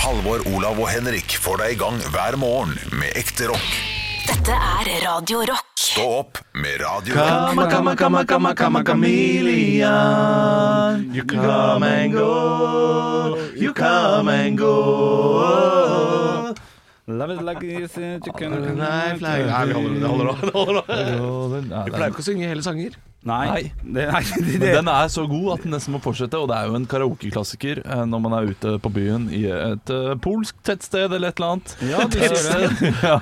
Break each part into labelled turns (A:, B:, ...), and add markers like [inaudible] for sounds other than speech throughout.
A: Halvor, Olav og Henrik får deg i gang hver morgen med ekte rock.
B: Dette er Radio Rock.
A: Stå opp med Radio Rock.
C: Kama, kama, kama, kama, kama, chameleon. You come and go, you come and go.
D: Love it like this, you can-
C: Nei, fly- Nei, vi holder det, det holder nå, det holder nå. Vi pleier ikke å synge hele sanger.
D: Nei, det, nei [laughs] det,
E: Men
D: det.
E: den er så god at den nesten må fortsette, og det er jo en karaokeklassiker eh, når man er ute på byen i et eh, polsk tettsted eller et eller annet.
D: Ja, de
E: [laughs]
D: sier det.
E: ja.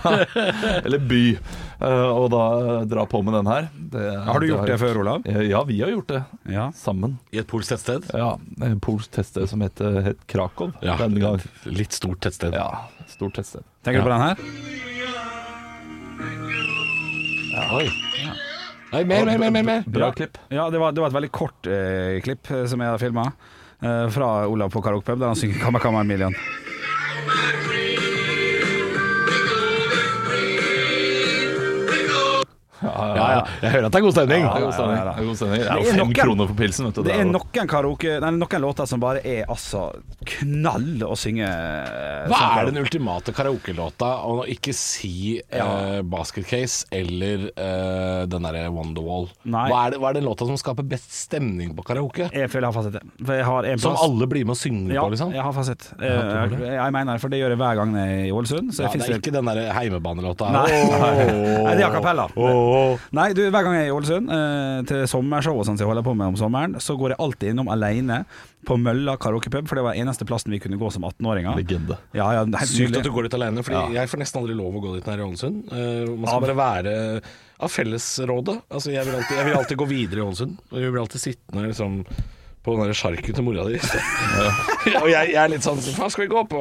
E: Eller by. Eh, og da eh, dra på med den her. Det-
D: Har du gjort det
E: har-
D: før, Olav?
E: Eh, Ja, vi har gjort det.
D: Ja.
E: Sammen.
C: I et polsk tettsted.
E: Ja, En polsk tettsted som heter, het Krakow
C: Ja.
E: denne gang.
C: Litt stort tettsted.
E: Ja, stort tettsted.
D: Tenker du på den her?
C: Oi. Nei, mer, mer, mer, mer, mer.
E: Bra
D: Ja.
E: klipp.
D: Ja, det var, det var et veldig kort eh, klipp eh, som jeg har filma. Eh, fra Olav på karaokepub, der han synger 'Kamma kamma million'.
C: Ja, ja. Jeg hører at det er god stemning.
E: Det er god stemning.
D: ja, ja.
E: Det er god stemning. Det er
D: Det
E: jo
D: er
E: fem
D: nok-
E: kroner for pilsen, vet du.
D: Det
E: er
D: er
E: jo-
D: noen karaoke Nei, noen låter som bare er altså knall å synge. eh,
C: Hva
D: som
C: er den
D: karaoke.
C: ultimate karaokelåta? Og nå ikke si eh, Basket Case eller eh, den derre Wonderwall.
D: Nei.
C: Hva er, det, hva er den låta som skaper best stemning på karaoke?
D: Jeg føler jeg har fasit. For jeg har en
C: Som
D: plass-
C: alle blir med og synger
D: Ja,
C: på, liksom?
D: jeg har fasit. Eh, jeg, jeg mener det, for det gjør jeg hver gang jeg er i Ålesund. Så
C: Ja,
D: jeg
C: det
D: finnes
C: er ikke den der heimebanelåta.
D: Nei.
C: Åh.
D: [laughs] Nei, det er a cappella.
C: Åh.
D: Nei, du, hver gang jeg er i Ålesund, eh, til sommershow og sånn som jeg holder på med om sommeren, så går jeg alltid innom alene på Mølla karaokepub, for det var eneste plassen vi kunne gå som 18-åringer.
E: Legende.
D: Ja, ja, helt
C: Sykt
D: nydelig.
C: at du går dit alene, Fordi jeg får nesten aldri lov å gå dit når jeg er i Ålesund. Eh, man skal
D: Av-
C: bare være av fellesrådet. Altså, jeg, vil alltid, jeg vil alltid gå videre i Ålesund. Og jeg blir alltid sittende liksom, på den der sjarken til mora di. [laughs] og jeg, jeg er litt sånn Faen, skal vi gå på,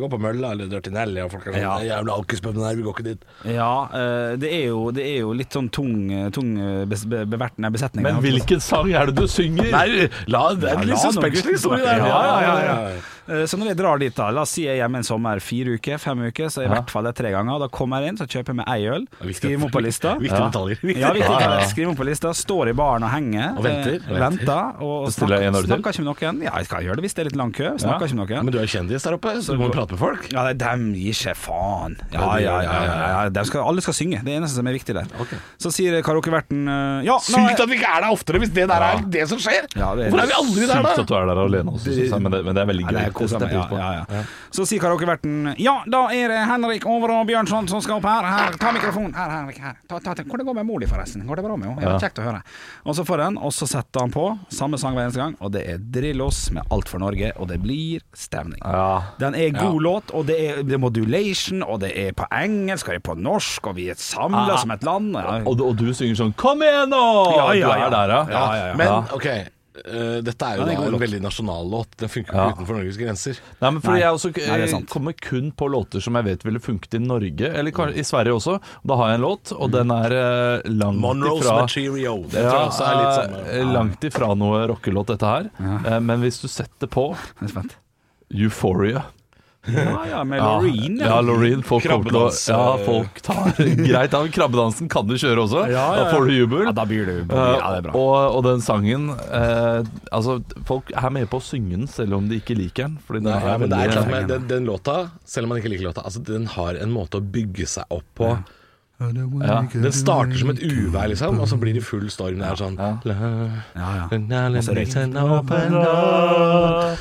C: gå på Mølla eller Dirtinelli? Og folk er sånn
D: Ja.
C: «Nei, Jævla alkispuben her, vi går ikke dit.
D: Ja, eh, det er jo, det er jo litt sånn tung, tung eh, bes, be, bevert- nei, besetning.
E: Men hvilken sang er det du synger?
C: Nei, la det
D: Ja, la noen gutter snakke.
C: Ja, ja, ja,
D: Eh, Så når jeg drar dit, da la oss si jeg er hjemme en sommer fire uker, fem uker, så i hvert fall det er tre ganger. Da kommer jeg inn, så kjøper jeg meg ei øl,
C: er viktig-
D: skriver meg opp på lista.
C: viktige detaljer. Viktige
D: Ja, viktige
C: detaljer.
D: detaljer. Skriver meg opp på lista, står i baren og henger.
C: Og venter,
D: eh,
C: venter.
D: Venter. Og
E: Bestiller jeg en
D: snakker,
E: øl til?
D: snakker ikke med noen. Ja, jeg skal gjøre det hvis det er litt lang kø. Snakker ikke med noen.
C: Men du er kjendis der oppe, så du må jo prate med folk.
D: Ja, nei, dem gir seg faen. Ja, ja, ja. ja, ja. Dem Skal, alle skal synge. Det er det eneste som er viktig der. Så sier karaokeverten eh, Ja, nå er-
C: Sykt at vi ikke er der oftere, hvis det der er det som skjer!
D: Ja, det er-
C: Hvor er vi aldri der, da?
E: Sykt at du er der alene også, synes jeg, men det, men det er veldig
D: Ja,
E: gøy.
D: det er koselig,
E: setter jeg pris på.
D: ja, ja, ja. Så sier karaokeverten Ja, da er det Henrik Over og Bjørnson som skal opp her. Her, Ta mikrofonen. Her, Henrik. her ta, ta, ta. Hvordan går det med mor di, forresten? Går det bra med henne? Ja, Kjekt å høre. Og så får han, og så setter han på samme sang hver eneste gang, og det er Drillos med Alt for Norge, og det blir stemning. Den er god låt, og det er, det er modulation, og det er på engelsk, og det er på norsk, og vi er samla
E: Ja.
D: som et land. Ja,
E: Ah. Og, du- og du synger sånn 'Kom igjen nå!'
D: Ja, ja,
E: Du
D: ja.
E: er der, ja.
C: Ja,
E: ja.
C: Men
E: Ja.
C: ok, eh, dette er jo
D: Ja, det er en
C: da
D: god låt.
C: en veldig nasjonal låt. Den funker jo
E: Ja.
C: ikke utenfor Norges grenser.
E: Nei, men fordi
D: Nei.
E: Jeg også,
D: Nei, det er sant.
E: kommer kun på låter som jeg vet ville funket i Norge, eller kan- i Sverige også. Da har jeg en låt, og den er eh, langt
C: Monroes
E: ifra
C: med Cheerio. Det tror
E: ja,
C: jeg også er litt
E: eh,
C: samme.
E: langt ifra noe rockelåt, dette her. Eh, Men hvis du setter på
D: Jeg er spent.
E: Euphoria
D: Ja, ja, med Loreen.
E: ja. ja, Loreen. Folk, kommer til å-
C: Krabbedans,
E: ja,
C: eh.
E: folk tar [laughs] greit av. Krabbedansen kan du kjøre også.
D: Ja, ja,
E: Da får du jubel.
D: Ja, da blir du Ja, det er bra.
E: Og, Eh, og den sangen eh, Altså, folk er med på å synge den selv om de ikke liker den. Fordi den
C: Nei,
E: er
C: men det er
E: veldig-
C: klart med den, den låta, selv om man ikke liker låta, altså, den har en måte å bygge seg opp på.
E: ja.
C: Den starter som et uvær, liksom, og så blir det full storm. Det er sånn
D: Ja, ja.
C: Også
D: det-
C: resten open up,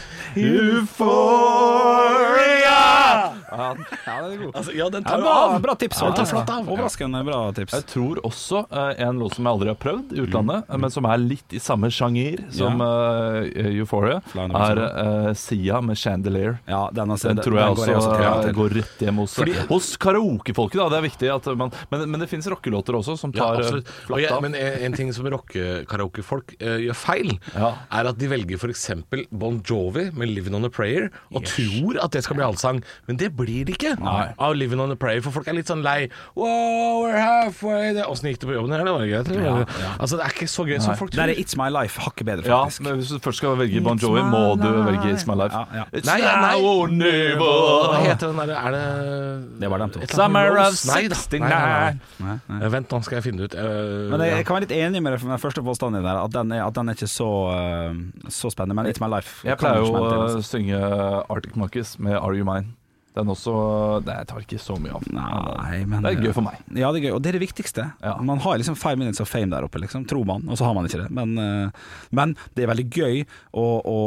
E: Ja,
C: Altså, ja, den
D: Ja,
C: tar jo
D: bra,
C: av.
D: bra tips.
C: Ja, den tar
D: Olav.
C: flatt av.
D: Overraskende bra tips.
E: Jeg tror også eh, en låt som jeg aldri har prøvd i utlandet, eh, men som er litt i samme sjanger som eh, Euphoria,
D: Fly on the
E: er eh, Sia med 'Chandelier'.
D: Ja, den, altså,
E: Den tror jeg også,
D: til, ja,
E: eh,
D: til.
E: går rett hjem hos Hos karaokefolket, da. Det er viktig. At man, men, men det finnes rockelåter også som
C: Ja,
E: tar eh,
C: absolutt. Og
E: flatt
C: jeg,
E: av.
C: men en en ting som rockekaraokefolk uh, gjør feil,
E: Ja.
C: er at de velger f.eks. Bon Jovi med 'Living On A Prayer' og tror at det skal bli allsang, men det blir blir det ikke av Living on a Prayer, for folk er litt sånn lei. Wow, we're halfway there. Åssen gikk det på jobben her? Det var greit. eller? Altså, det er ikke så gøy som folk
D: Der
C: tror.
D: er It's My Life hakket bedre,
E: Ja,
D: faktisk.
E: men hvis du først skal velge Bon Jovi, må du velge It's My Life.
D: Ja, ja.
E: It's
C: Nei, nei.
E: now or
C: Hva
E: never.
C: heter den derre Er det
D: Det var dem to.
C: Et eller annet
E: Summer
C: med
E: of
C: Rose? Nei da.
E: 69.
C: Nei, nei, nei.
D: Nei, nei.
C: Eh, Vent, nå skal jeg finne det ut. Eh,
D: Men jeg,
C: ja.
D: jeg kan være litt enig med det med den første påstanden din der, at den er, at den er ikke så, eh, så spennende. Men It's My Life
E: Jeg
D: kan ikke
E: pleier jo
D: smelte inn,
E: å
D: altså.
E: synge Arctic Monkeys med Are You Mine. Den også Nei, jeg tar ikke så mye av.
D: Nei, men eh,
E: Det er gøy for meg.
D: Ja, det er gøy, og det er det viktigste.
E: Ja.
D: Man har liksom five minutes of fame der oppe, liksom, tror man, og så har man ikke det. Men, eh, men det er veldig gøy å, å,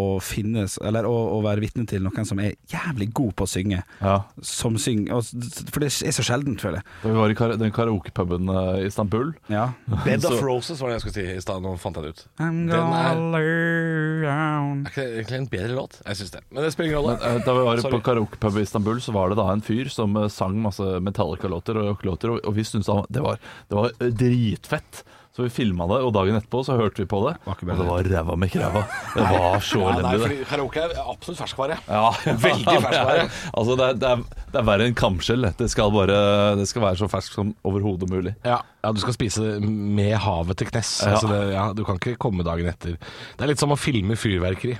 D: å, å finnes, eller å, å være vitne til noen som er jævlig god på å synge.
E: Ja.
D: Som syng, og, s- for det er så sjeldent, føler jeg.
E: Da vi var i kara- den karaokepuben eh, i Istanbul
D: Ja.
C: Bed of
E: Så-
C: Roses var det jeg skulle si i stad. Nå fant jeg det ut.
D: I'm
C: Den er-
D: gonna lay down.
C: Er ikke det egentlig en bedre låt? Jeg syns det. Men det spiller ingen
E: men,
C: rolle.
E: eh, Da vi var
C: Sorry.
E: på karaokepub i Istanbul, så var det da en fyr som eh, sang masse Metallica-låter og rock-låter, og- og vi syntes han- det var, det var eh, dritfett. Så vi filma det, og dagen etterpå så hørte vi på det.
D: Var
E: Og
D: ikke bedre.
E: det var ræva med ræva. Det var så
C: Ja, nei,
E: elendig, det.
C: fordi karaoke er absolutt ferskvare.
D: [laughs]
E: Ja,
C: Veldig ferskvare.
E: det er- altså det, er, det, er, det er verre enn kamskjell. Det skal, bare, det skal være så ferskt som overhodet mulig.
D: Eh,
C: Ja. du skal spise det med havet til knes.
E: Ja.
C: Altså det, ja, du kan ikke komme dagen etter. Det er litt som å filme fyrverkeri.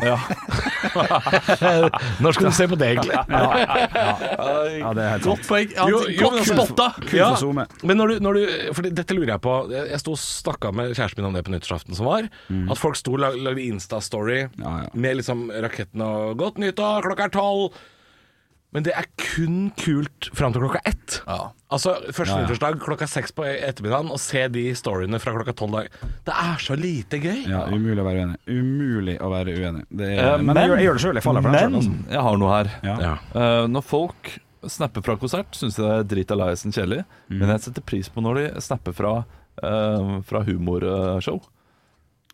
E: Ja.
C: [laughs] Når skal du se på det, egentlig?
D: Ja, det er helt sant.
E: Godt poeng. Ja,
C: Jo, jo, men
E: Godt
C: altså-
E: spotta!
D: Kun
C: Ja.
D: for SoMe.
C: Men når du, når du For dette lurer jeg på. Jeg jeg sto og snakka med kjæresten min om det på nyttårsaften som var. At folk sto og lag- lagde Insta-story
D: Mm. Ja, ja.
C: med liksom raketten og 'Godt nyttår, klokka er tolv'. Men det er kun kult fram til klokka ett.
E: Ja.
C: Altså Første
D: Ja, ja.
C: nyttårsdag klokka seks på ettermiddagen, og se de storyene fra klokka tolv. dag- Det er så lite gøy.
D: Ja, umulig å være uenig. Umulig å være uenig. Det er,
E: Eh,
D: men, jeg, gjør- jeg gjør det sjøl, jeg faller for den sjøl.
E: Men jeg har noe her.
D: Ja.
C: Ja.
E: Eh, når folk snapper fra konsert, syns jeg det er drit alaisen kjedelig.
D: Mm.
E: Men jeg setter pris på når de snapper fra, eh, fra humorshow.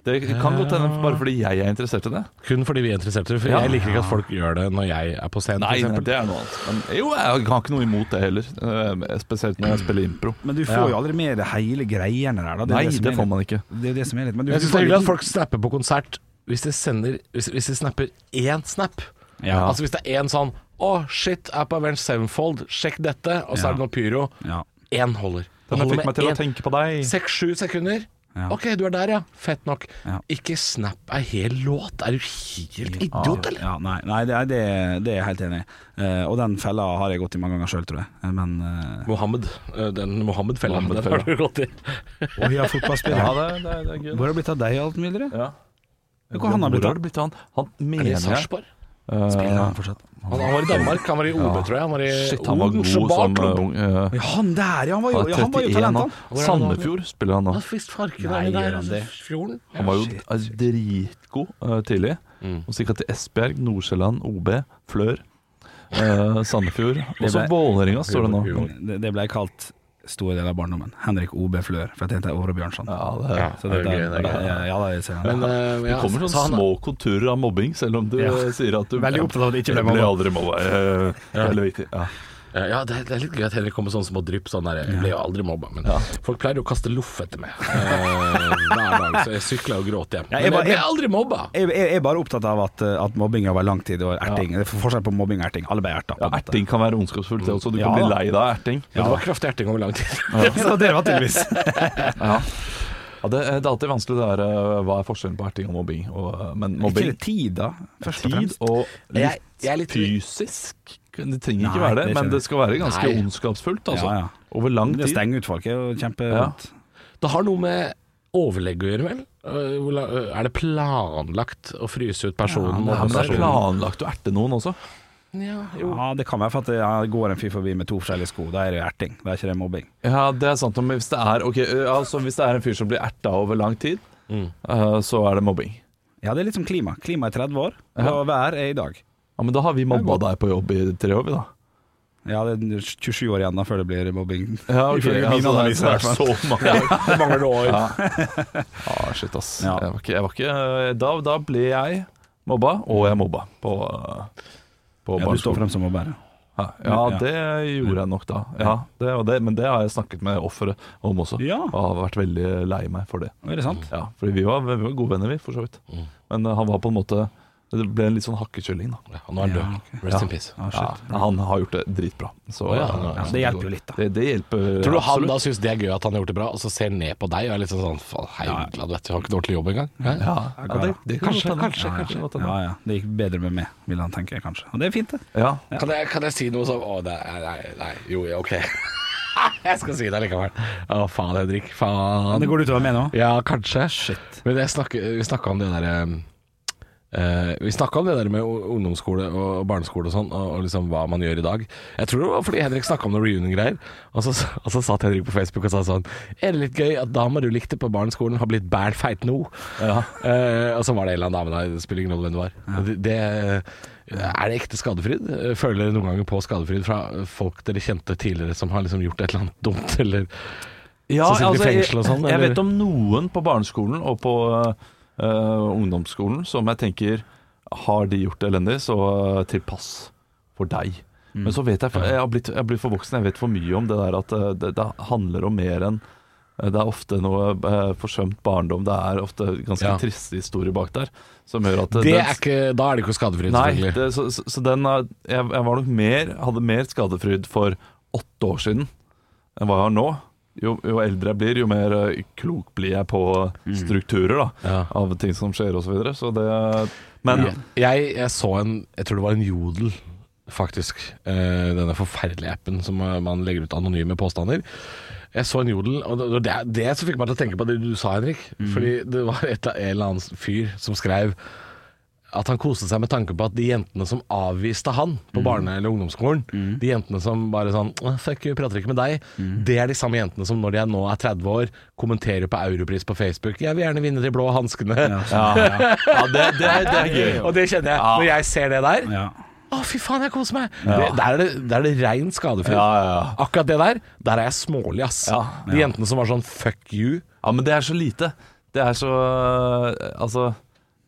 E: Det kan godt hende bare fordi jeg er interessert i det.
C: Kun fordi vi er interessert i det. For
E: Ja.
C: jeg liker ikke at folk gjør det når jeg er på scenen.
E: Nei,
C: for eksempel.
E: det er noe annet. Men jo, jeg har ikke noe imot det heller. eh, spesielt når jeg spiller impro.
D: Mm. Men du får jo aldri med det hele greiene der. Da.
E: Nei,
D: som
E: det
D: er
E: får
D: litt-
E: man ikke.
D: Det er jo det som er litt Men du,
C: Jeg
D: du
C: syns det
D: får
C: er hyggelig at
D: litt-
C: folk snapper på konsert hvis de, sender, hvis, hvis de snapper én snap.
D: Ja.
C: Altså hvis det er én sånn 'Å, shit, er på Avenged Sevenfold, sjekk dette', og så
D: Ja.
C: er det noe pyro.
D: ja.
C: Én holder. Det
E: Den
C: holder
E: fikk meg til å
C: én.
E: tenke på deg.
C: Seks-sju sekunder.
D: Ja.
C: Ok, du er der, ja. Fett nok.
D: Ja.
C: Ikke snap ei hel låt. Er du helt idiot, eller?
D: Ja, nei, nei det, er, det, det er jeg helt enig i. Eh, og den fella har jeg gått i mange ganger sjøl, tror jeg. Eh, Men eh,
C: Mohammed. eh, Den Mohammed-fella.
E: Mohammed-fella.
C: den har du gått i.
D: Og ja, fotballspiller.
E: Ja, det, det, det er gøy.
D: Hvor har det blitt av deg, alt mylderet?
E: Ja.
D: Hvor han har blitt av?
E: det blitt av? Han, han
C: Er
E: mener
C: det i
E: jeg
C: Sarpsborg?
E: eh,
D: Spiller han fortsatt?
C: Han, han var i Danmark. Han var i OB, tror jeg. Han var i
E: Shit, han var god
C: Odense
E: som
C: Barklubb.
E: eh, ung. eh,
D: Ja, han der, ja! Han var jo,
E: Han er
D: ja, han var jo
E: 31
D: talent,
E: nå.
D: han.
E: Sandefjord spiller han nå.
C: Ja, Visst farken
D: Nei,
C: er
D: gjør
C: det der.
D: han
C: altså,
D: det?
C: Fjorden.
E: Han var jo eh, dritgod eh, tidlig. Og så gikk han til Esbjerg, Nordsjælland, OB, Flør, eh, Sandefjord. Og så
D: ble-
E: Vålerenga står det nå.
D: Det, det ble kalt store deler av barndommen. Henrik OB Flør, for jeg tenkte Åre Bjørnson.
E: Ja, det,
C: Ja.
D: Så det,
C: det er gøy,
D: der-
C: det er gøy.
D: ja, ja, da, jeg ser han.
C: Men, eh,
E: det
C: ja,
E: kommer
C: så
E: sånne
C: han-
E: små konturer av mobbing, selv om du
D: Ja.
E: eh, sier at du
D: Veldig opptatt av at det ikke ble
E: Jeg ble
D: mobba.
E: aldri mobba. eh, Veldig viktig. Ja.
C: Ja, det er, det er litt gøy at Henrik kommer med sånne små drypp. Sånn der, jeg ble jo aldri mobba, men folk pleier jo å kaste loff etter meg eh, hver dag. Så jeg sykla og gråt hjem.
D: Ja,
C: Men
D: jeg
C: jeg
D: bare-
C: ble aldri mobba!
D: Jeg, jeg, jeg er bare opptatt av at, eh, at mobbing over lang tid og erting Det er forskjell på mobbing og erting. Alle ble erta.
E: Ja, erting kan være ondskapsfullt, det også. Du
D: Ja.
E: kan bli lei deg av erting.
C: Men det var kraftig erting over lang tid. [laughs]
D: Så det var tydeligvis.
E: Ja. Ja, det, det er alltid vanskelig det der eh, hva er forskjellen på erting og mobbing. Og, eh, men
D: Ikke
E: mobbing
D: litt tid, da. Først og
E: tid
D: fremst.
E: og litt
C: Jeg- jeg er litt-
E: fysisk. Det trenger
D: Nei,
E: ikke være det,
D: det
E: men
D: skjønner
E: det skal være ganske
C: Nei.
E: ondskapsfullt. Altså.
D: Ja, ja.
E: Over lang
D: Det å
E: tid.
D: stenge ut folk er jo kjempevondt.
C: Det har noe med overlegg å gjøre, vel? Eh, hvor la- eh, Er det planlagt å fryse ut personen?
E: Nei,
C: mobbe
E: men det er
C: personen?
E: planlagt å erte noen også.
C: Ja,
D: Ja.
C: jo.
D: det kan være for at det ja, går en fyr forbi med to forskjellige sko. Da er det erting. Da er ikke det mobbing.
E: Ja, det er sant. Men hvis det er, ok, eh, altså, hvis det er en fyr som blir erta over lang tid, eh, så er det mobbing.
D: Ja, det er litt som klima. Klima er 30 år, og vær er i dag.
E: Ja, Men da har vi mobba deg på jobb i tre år, vi da.
D: Ja, det er 27 år igjen da før det blir mobbing.
E: Ja, ok,
D: Ifølge min
E: altså, det er-
D: analyse, i hvert fall.
E: Det er så
D: [laughs]
E: mange år.
C: Det mangler noe år.
E: Ah, shit, ass.
D: Ja.
E: Jeg var ikke, jeg var ikke eh, da, da ble jeg mobba, og jeg mobba på, eh, på
D: Ja, du står
E: barneskolen.
D: frem som mobber.
E: Ja, ja,
D: Ja.
E: det gjorde jeg nok da. Ja, det, og det, men det har jeg snakket med offeret om også.
D: Ja.
E: Og har vært veldig lei meg for det.
D: Er det sant? Mm.
E: Ja, fordi vi var, vi var gode venner, vi, for så vidt. Men eh, han var på en måte Det ble en litt sånn hakkekylling, da.
C: Ja, nå er han død. Rest in peace.
D: Ah, shit.
E: Ja, han har gjort det dritbra. Så
C: Å, ja, han har-
D: Ja, det hjelper jo litt, da.
E: det, det hjelper.
C: Tror du han
E: absolutt.
C: da syns det er gøy at han har gjort det bra, og så ser ned på deg og er litt sånn faen, hei, glad du vet, du har ikke en ordentlig jobb engang? Hæ?
E: Ja, ja, det, det kan godt hende. Ja, det kan godt hende.
D: Ja, ja. Det gikk bedre med meg, vil han tenke, kanskje. Og det er fint, det.
E: Ja.
C: Kan, jeg, kan jeg si noe som Å, nei, nei, nei jo, ja, ok. [laughs] jeg skal si det likevel. Å, faen, Henrik. Faen.
D: Det går utover meg nå.
C: Ja, kanskje. Men jeg snakker, vi snakka om det derre vi snakka om det der med o- ungdomsskole og barneskole og sånn, og, og liksom hva man gjør i dag. Jeg tror det var fordi Henrik snakka om noen reunion-greier, og, så- og så satt Henrik på Facebook og sa sånn Er det litt gøy at dama du likte på barneskolen, har blitt bæl feit nå? Eh, og så var det en eller annen dame der, det spiller ingen rolle hvem det var. Det, det, er det ekte skadefryd? Føler dere noen ganger på skadefryd fra folk dere kjente tidligere som har liksom gjort et eller annet dumt, eller
E: Ja, altså,
C: Som sitter i fengsel og
E: jeg,
C: sånn,
E: jeg
C: eller?
E: vet om noen på barneskolen og på øh, ungdomsskolen som jeg tenker Har de gjort det elendig, så øh, til pass for deg.
C: Mm.
E: Men så vet jeg for, Jeg har blitt, jeg har blitt for voksen, jeg vet for mye om det der at øh, det, det handler om mer enn eh, det er ofte noe øh, forsømt barndom. Det er ofte ganske
C: Ja.
E: triste historier bak der. Som gjør at øh,
C: det
E: den-
C: er ikke, Da er det ikke skadefryd,
E: Nei,
C: selvfølgelig.
E: det, så, så, så den er, jeg, jeg var nok mer, hadde mer skadefryd for åtte år siden enn hva jeg har nå. Jo, jo eldre jeg blir, jo mer eh, klok blir jeg på strukturer da,
C: Mm. Ja.
E: av ting som skjer osv. Så videre. så det Men
C: Jeg, jeg så en Jeg tror det var en Jodel, faktisk. Eh, denne forferdelige appen som eh, man legger ut anonyme påstander. Jeg så en Jodel, og det det er det som fikk meg til å tenke på det du sa, Henrik. Fordi det var et, en eller annen fyr som skrev at han koste seg med tanken på at de jentene som avviste han på barne- eller ungdomsskolen, de jentene som bare sånn «Åh, Fuck you, prater ikke med deg. Det er de samme jentene som når de er nå er 30 år, kommenterer på Europris på Facebook. Jeg vil gjerne vinne de blå hanskene.
E: ja, ja det, det, er, det er gøy.
C: Og det kjenner jeg. Når jeg ser det der
D: Ja.
C: Å, fy faen, jeg koser meg! Det, der, er det, der er det rein skadefri.
E: Ja, ja, ja.
C: Akkurat det der, der er jeg smålig, ass.
E: Ja.
C: De jentene som var sånn fuck you.
E: Ja, men det er så lite. Det er så eh, Altså,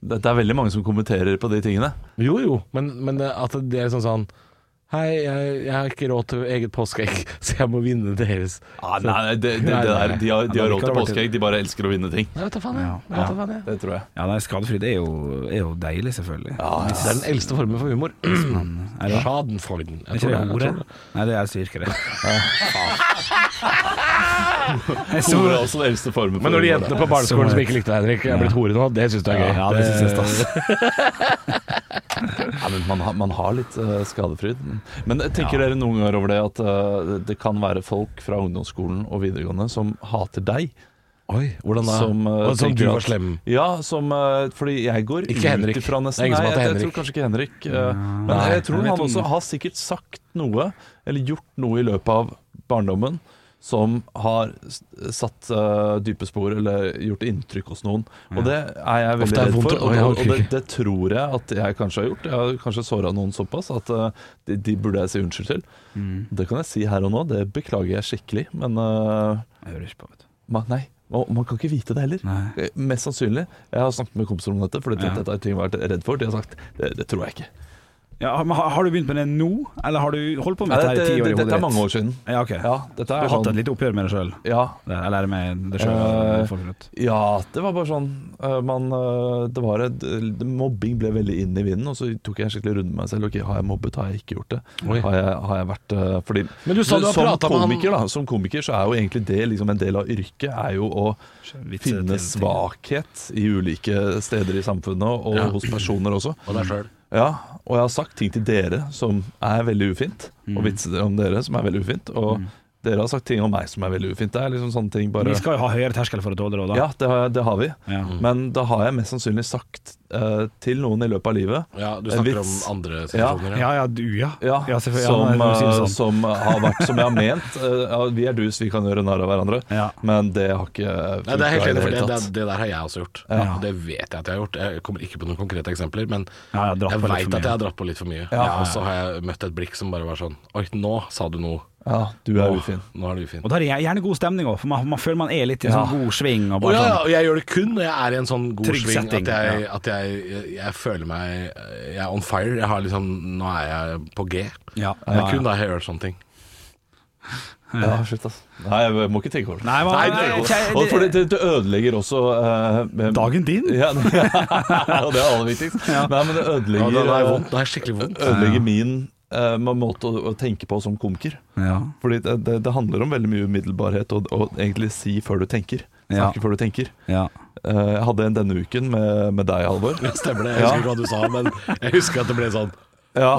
E: det, det er veldig mange som kommenterer på de tingene.
C: Jo jo, men, men at det er sånn sånn Hei, jeg, jeg har ikke råd til eget påskeegg, [laughs] så jeg må vinne deres.
E: Ah, nei, nei, det, det, det der, de har, de har råd til påskeegg, de bare elsker å vinne ting.
C: Jeg vet da faen, jeg.
D: Ja.
C: jeg. vet da faen, jeg.
E: Det tror jeg.
D: Ja, nei, skadefri det er jo, er jo deilig, selvfølgelig.
C: Det er den eldste formen for humor.
D: Er det-
C: Schadenfreuden. Jeg
D: Er ikke
C: tror
D: det
C: jeg
D: ordet?
C: tror det.
D: Nei, det er cirka
E: [laughs]
D: det. [laughs] Jeg så-
E: Hore er også den eldste formen for
C: Men når de
E: humor, da.
C: jentene på barneskolen som ikke likte deg, Henrik, er blitt hore nå, det syns du er gøy.
D: Ja, det synes jeg er
C: [laughs]
D: stas.
E: Ja, men man, har- man har litt eh, skadefryd. Men eh, tenker dere noen ganger over det at eh, det kan være folk fra ungdomsskolen og videregående som hater deg?
C: Oi, hvordan da?
E: Som, eh,
C: Og som
E: tenker
C: du
E: at-
C: var slem.
E: Ja, som eh, Fordi jeg går
C: Ikke Henrik.
E: ut ifra nesten
C: Det er ingen som
E: Nei,
C: heter
E: jeg, jeg
C: Henrik.
E: tror kanskje ikke Henrik. eh, men
C: Nei,
E: jeg tror
D: jeg vet
E: han
D: om-
E: også har sikkert sagt noe, eller gjort noe i løpet av barndommen, som har s- satt eh, dype spor eller gjort inntrykk hos noen. Og det er jeg
C: Ofte
E: veldig
C: er det
E: redd
C: vondt
E: for.
C: å-
E: Og,
C: Oi, jeg
E: og,
C: orker
E: det,
C: ikke.
E: det tror jeg at jeg kanskje har gjort. Jeg har kanskje såra noen såpass at eh, de, de burde jeg si unnskyld til. Det kan jeg si her og nå, det beklager jeg skikkelig, men eh,
D: Jeg hører ikke på, vet du.
E: man, nei, og man kan ikke vite det heller.
D: Nei.
E: Eh, Mest sannsynlig. Jeg har snakket med kompiser om dette, for
D: Ja.
E: dette er ting jeg har vært redd for. De har sagt det, det tror jeg ikke.
D: Ja, men har, har du begynt med det nå, eller har du holdt på med dette
E: Nei,
D: her i
E: dette,
D: ti år i
E: dette,
D: hodet
E: dette er mange
D: ditt?
E: år siden.
D: Ja, ok.
E: Ja, dette
D: Du
E: er
D: har hatt et
E: sånn
D: lite oppgjør med det sjøl?
E: ja,
D: Eller med det
E: Eh,
D: sjøl?
E: ja, det var bare sånn eh, man, eh, det var et, eh, Mobbing ble veldig inn i vinden, og så tok jeg en skikkelig runde med meg selv. Ok, Har jeg mobbet? Har jeg ikke gjort det?
C: Oi.
E: Har jeg, har jeg vært eh, Fordi
C: Men du sa du har
E: som,
C: pratet med han-
E: komiker, da, som komiker så er jo egentlig det liksom, en del av yrket er jo å finne svakhet i ulike steder i samfunnet, og
C: Ja.
E: hos personer også.
C: Og deg sjøl.
E: Ja, og jeg har sagt ting til dere som er veldig ufint,
C: Mm.
E: og vitser om dere som er veldig ufint, og dere har sagt ting om meg som er veldig ufint. Det er liksom sånne ting bare
D: Vi skal jo ha høyere terskel for å tåle råd, da.
E: Ja, det har, det har vi.
D: Ja.
C: Mm.
E: Men da har jeg mest sannsynlig sagt eh, til noen i løpet av livet
C: Ja, du
E: En
C: snakker om
E: vits.
C: andre situasjoner.
D: Ja, ja, du, ja.
E: ja,
D: selvfølgelig.
E: som,
D: Ja, men jeg må si det
E: eh,
D: sånn.
E: som har vært som jeg har ment. Eh, ja, vi er dus, vi kan gjøre narr av hverandre,
D: Ja.
E: men det har ikke funka
C: Nei, det er helt
E: i
C: enig,
E: det
C: for det,
E: hele
C: det,
E: tatt.
C: det der har jeg også gjort. Og det vet jeg at jeg har gjort. Jeg kommer ikke på noen konkrete eksempler, men
D: Ja, jeg har dratt
C: jeg
D: på litt
C: veit
D: for
C: at jeg
D: mye.
C: har dratt på litt for mye. Ja, og så har jeg møtt et blikk som bare var sånn Oi, nå sa du noe.
E: Ja, du
C: Nå,
E: er ufin.
C: nå er du ufin.
D: Og da er det gjerne god stemning òg, for man, man føler man er litt i en
E: Ja.
D: sånn god sving. Og
C: Å
D: bare
C: ja, ja,
D: sånn
C: og jeg gjør det kun når jeg er i en sånn god
D: Trygg
C: sving
D: setting,
C: at, jeg, at jeg, jeg, jeg føler meg Jeg er on fire. Jeg har liksom Nå er jeg på G.
D: Ja,
C: Det er kun da jeg gjør sånne ting.
E: Ja, slutt, ass. Nei, jeg må ikke tenke over det.
D: Nei, hva-
E: jeg tenker over det.
D: Nei,
E: Og fordi det, det ødelegger også eh,
D: Dagen din?
E: Ja, [laughs] det- og det er aller viktigst. Nei, men det
C: Ja, det,
E: ødelegger,
C: er
E: eh,
C: vondt. det er skikkelig vondt.
E: ødelegger min eh, måte å, å tenke på som komiker.
D: Ja.
E: Fordi det, det, det handler om veldig mye umiddelbarhet og, og egentlig si før du tenker.
D: Ja.
E: Snakke før du tenker.
D: ja.
E: Eh, Jeg hadde en denne uken med, med deg, Halvor.
C: Det [laughs] stemmer det. Jeg husker ikke hva du sa, men jeg husker at det ble sånn
E: Ja,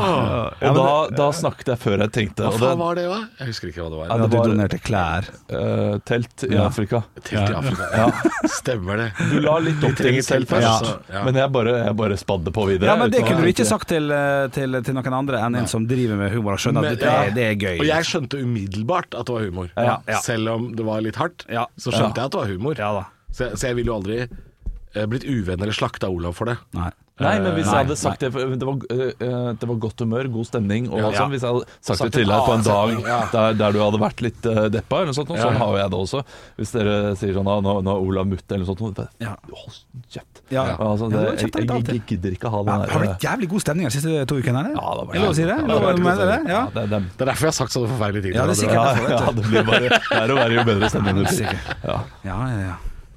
E: og da, da snakket jeg før jeg tenkte.
C: Hva
E: Og det,
C: faen var det, da? Jeg husker ikke hva det var.
E: Ja,
D: At
E: det
D: du
E: var-
D: donerte klær.
E: eh, telt i
D: Ja.
E: Afrika.
C: Telt i Afrika. Ja. Stemmer det.
E: Du la litt opp til
C: trenger
E: det selv
C: telt,
E: først,
C: altså. Ja.
E: men jeg bare, jeg bare spadde på videre.
D: Ja, men Det
E: uten å
D: kunne du
E: tenke.
D: ikke sagt til, eh, til, til noen andre enn en som driver med humor og skjønner
C: Men-
D: at det,
C: ja.
D: det er gøy.
C: Og jeg skjønte umiddelbart at det var humor.
D: Ja, ja.
C: Selv om det var litt hardt,
D: Ja.
C: så
E: Ja.
C: skjønte jeg at det var humor.
D: Ja da.
C: Så, jeg- så jeg ville jo aldri eh, blitt uvenn eller slakta Olav for det.
D: Nei.
E: Nei, men hvis
D: Nei,
E: jeg hadde sagt det for- det var, eh, det var godt humør, god stemning og alt
C: Ja.
E: sånn, Hvis jeg hadde sagt det
C: Sagt
E: til
C: en
E: deg på en
C: annen
E: dag
C: setning, ja.
E: der, der du hadde vært litt eh, deppa, eller noe sånt, noe,
C: Ja.
E: sånn har jo jeg det også. Hvis dere sier sånn ah, 'Nå nå er Olav mutt', eller noe sånt, noe,
D: Ja.
E: hold kjeft.
D: Ja. Ja,
E: Altså, det,
D: det var
E: jeg,
D: kjeft,
E: jeg,
D: det er
E: jeg gidder ikke ha
D: Ja,
E: den
D: det har
E: der eh,
D: vært jævlig god stemning de siste to ukene, eller?
E: Ja, det var-
D: er det lov å si det?
E: Ja, det
D: Lov å
E: var-
D: mene det? Ja.
E: Ja, det, det,
C: Det er derfor jeg har sagt sånne forferdelige ting.
D: Ja,
C: til
D: det er
C: hverandre.
D: sikkert.
E: ja,
D: derfor, vet
E: ja, [laughs] det blir bare verre og verre jo bedre stemning det blir.
D: Sikkert.
E: Ja.
D: Ja, ja, ja.